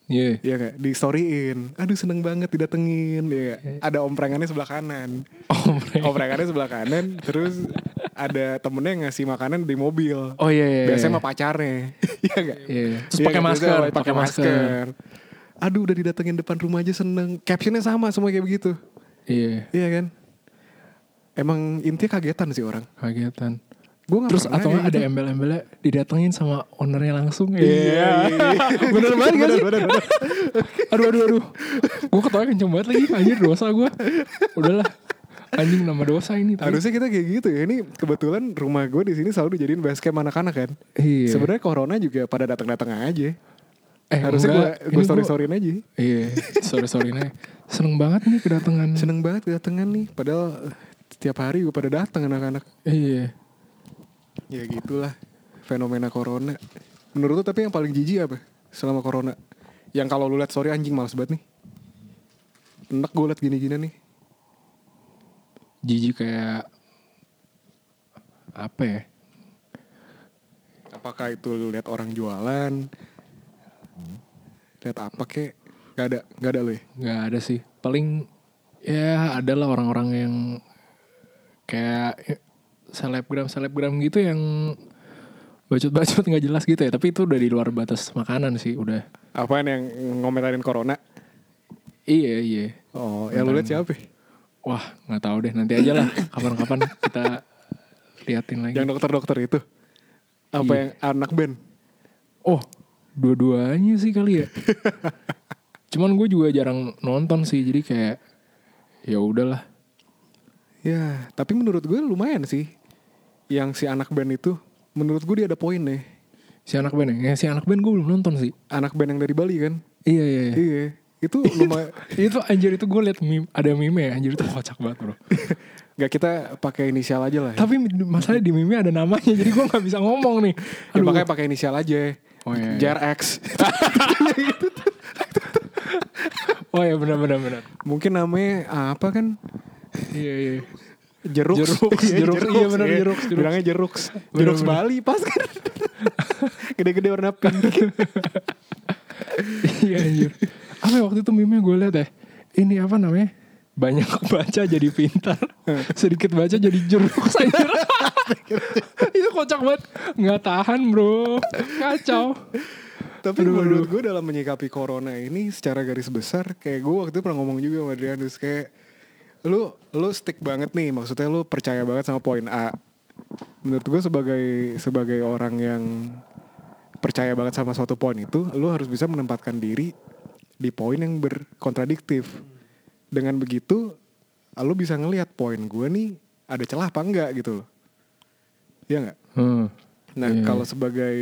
D: iya
A: Iya kayak di storyin. Aduh seneng banget didatengin ya.
D: Iya.
A: nggak? Ada omprengannya sebelah kanan.
D: oh, mereka-
A: Omprengannya sebelah kanan terus ada temennya yang ngasih makanan di mobil.
D: oh iya iya
A: Biasanya
D: iya.
A: sama pacarnya. Iya enggak?
D: Iya. Terus pakai masker, pakai masker.
A: Aduh udah didatengin depan rumah aja seneng. Captionnya sama semua kayak begitu.
D: iya
A: Iya kan? Emang intinya kagetan sih orang.
D: kagetan
A: Gue
D: Terus atau nggak ada embel-embelnya didatengin sama ownernya langsung ya.
A: gitu. Iya, iya, iya.
D: bener banget gak sih?
A: Bener, bener, bener.
D: aduh aduh aduh. Gue ketawa kenceng banget lagi anjir dosa gue. Udahlah. Anjing nama dosa ini tapi.
A: Harusnya kita kayak gitu ya. Ini kebetulan rumah gue di sini selalu dijadiin base camp anak-anak kan.
D: Iya.
A: Sebenarnya corona juga pada datang-datang aja.
D: eh,
A: Harusnya
D: enggak.
A: gue
D: Ini
A: story storyin aja.
D: Iya, sorry sorry nih. Seneng banget nih kedatangan.
A: Seneng banget kedatangan nih. Padahal eh, tiap hari gue pada datang anak-anak.
D: Iya.
A: Ya gitulah fenomena corona. Menurut lu tapi yang paling jijik apa selama corona? Yang kalau lu liat story anjing males banget nih. Enak gue liat gini-gini nih.
D: Jijik kayak apa ya?
A: Apakah itu lu lihat orang jualan? Lihat apa kek? Gak ada, gak ada lu ya?
D: Nggak ada sih. Paling ya ada lah orang-orang yang ya, kayak selebgram selebgram gitu yang bacot-bacot nggak jelas gitu ya tapi itu udah di luar batas makanan sih udah
A: Apaan yang ngomentarin corona?
D: iya iya
A: Oh, yang lu lihat siapa?
D: wah nggak tahu deh nanti aja lah kapan-kapan kita liatin lagi
A: Yang dokter-dokter itu. Apa
D: Iya.
A: yang anak band?
D: oh dua-duanya sih kali ya cuman gue juga jarang nonton sih jadi kayak ya udahlah
A: Ya, tapi menurut gue lumayan sih. Yang si anak band itu, menurut gue dia ada poin nih.
D: si anak band ya? ya si anak band gue belum nonton sih
A: Anak band yang dari Bali kan?
D: iya iya, iya.
A: Iya. Itu lumayan.
D: itu anjir itu gue liat meme, ada meme ya anjir itu kocak banget bro
A: Gak kita pakai inisial aja lah. Ya.
D: tapi masalahnya di meme ada namanya jadi gue nggak bisa ngomong nih
A: Ya,
D: Aduh.
A: makanya pakai inisial aja.
D: Oh, iya, iya.
A: JRX.
D: oh ya benar benar benar
A: Mungkin namanya apa kan?
D: iya iya
A: Jeruk.
D: Jeruk, jeruk, iya benar, jeruk, jeruk.
A: Bilangnya jeruk.
D: Benar,
A: Jeruk
D: benar.
A: Bali pas kan. Gede-gede warna pink.
D: iya anjir apa ya waktu itu meme gue liat ya ini apa namanya banyak baca jadi pintar sedikit baca jadi jeruk anjir itu kocak banget nggak tahan bro kacau
A: Tapi menurut gue dalam menyikapi corona ini secara garis besar kayak gue waktu itu pernah ngomong juga sama Adrianus kayak lu lu stick banget nih maksudnya lu percaya banget sama poin A. Menurut gue sebagai sebagai orang yang percaya banget sama suatu poin itu, lu harus bisa menempatkan diri di poin yang berkontradiktif. Dengan begitu, lu bisa ngelihat poin gue nih ada celah apa enggak gitu loh. Iya enggak?
D: hmm.
A: Nah
D: Iya.
A: kalau sebagai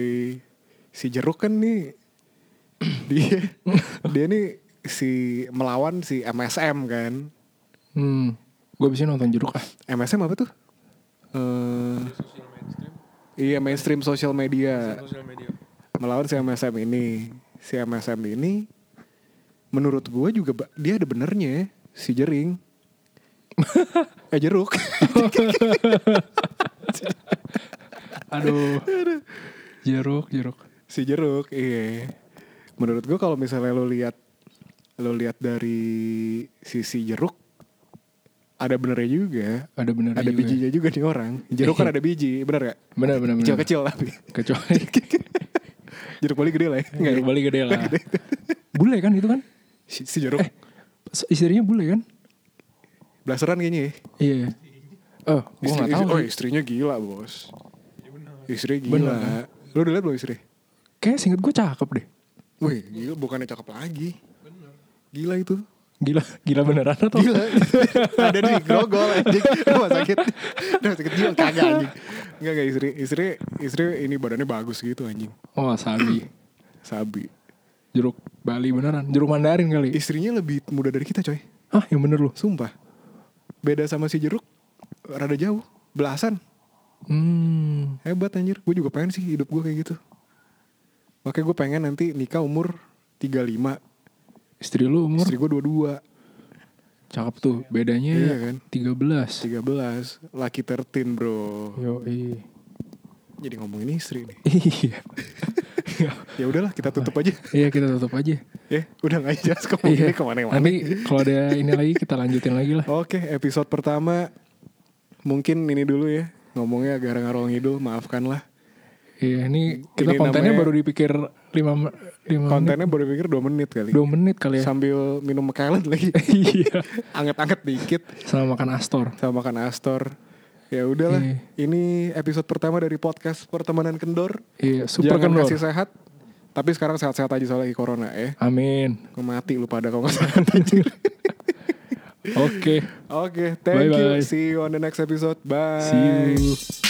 A: si jeruk kan nih dia dia nih si melawan si MSM kan.
D: hmm. gue bisa nonton jeruk ah
A: MSM apa tuh? Eh, iya mainstream social media melawan si MSM ini. Si MSM ini menurut gua juga ba- dia ada benernya si jering. eh jeruk.
D: aduh jeruk jeruk
A: si jeruk iya menurut gua kalau misalnya lo lihat lo lihat dari sisi jeruk ada benernya juga
D: ada ya? bener
A: ada bijinya juga nih orang jeruk
D: Iya.
A: kan ada biji bener gak
D: benar benar
A: kecil kecil tapi
D: kecuali
A: jeruk bali gede lah ya Nggak ya?
D: jeruk balik gede lah bule kan itu kan
A: si, si jeruk
D: Eh. istrinya bule kan
A: blasteran kayaknya ya
D: iya oh gue
A: Istri-
D: nggak
A: istri-
D: tahu
A: oh
D: sih.
A: istrinya gila bos istrinya gila
D: Bener, kan?
A: lo udah liat belum istri
D: Kayaknya singkat gue cakep deh.
A: wih gila bukannya cakep lagi gila itu
D: Gila, gila beneran atau?
A: Gila. Ada di grogol anjing. Rumah sakit. Rumah sakit jiwa kagak anjing. Enggak enggak istri istri istri ini badannya bagus gitu anjing.
D: Oh, wasabi.
A: Sabi.
D: Jeruk Bali beneran. Jeruk Mandarin kali.
A: Istrinya lebih muda dari kita, coy.
D: Hah, yang bener lu.
A: Sumpah. Beda sama si jeruk rada jauh, belasan.
D: Hmm.
A: Hebat anjir. Gue juga pengen sih hidup gue kayak gitu. Makanya gue pengen nanti nikah umur 35.
D: Istri lu umur
A: Istri gue 22,
D: cakep tuh. Bedanya
A: Iya kan?
D: 13.
A: 13, laki 13, bro.
D: Yo, iya.
A: Jadi ngomongin istri nih.
D: Iya.
A: Ya udahlah, kita tutup aja.
D: Iya, kita tutup aja.
A: Ya, udah gak jelas kemana
D: Iya.
A: kemana-mana.
D: Nanti kalau ada ini lagi kita lanjutin lagi lah.
A: Oke, episode pertama mungkin ini dulu ya. Ngomongnya agak ngarong ngidul, maafkanlah.
D: Iya, ini kita
A: Ini
D: kontennya
A: namanya-
D: baru dipikir 5 5 menit.
A: Kontennya baru pikir 2 menit kali.
D: 2 menit kali ya.
A: Sambil minum McAllen lagi.
D: Iya.
A: Anget-anget dikit
D: Sama makan Astor.
A: sama makan Astor. Ya udahlah,
D: Iya.
A: ini episode pertama dari podcast Pertemanan Kendor.
D: Iya, super
A: Jangan
D: kendor.
A: kasih sehat. Tapi sekarang sehat-sehat aja soal lagi corona ya.
D: Amin.
A: Mati lu pada kalau nggak sehat anjir.
D: Oke.
A: Oke, thank you.
D: Bye-bye.
A: See you on the next episode. Bye.
D: See you.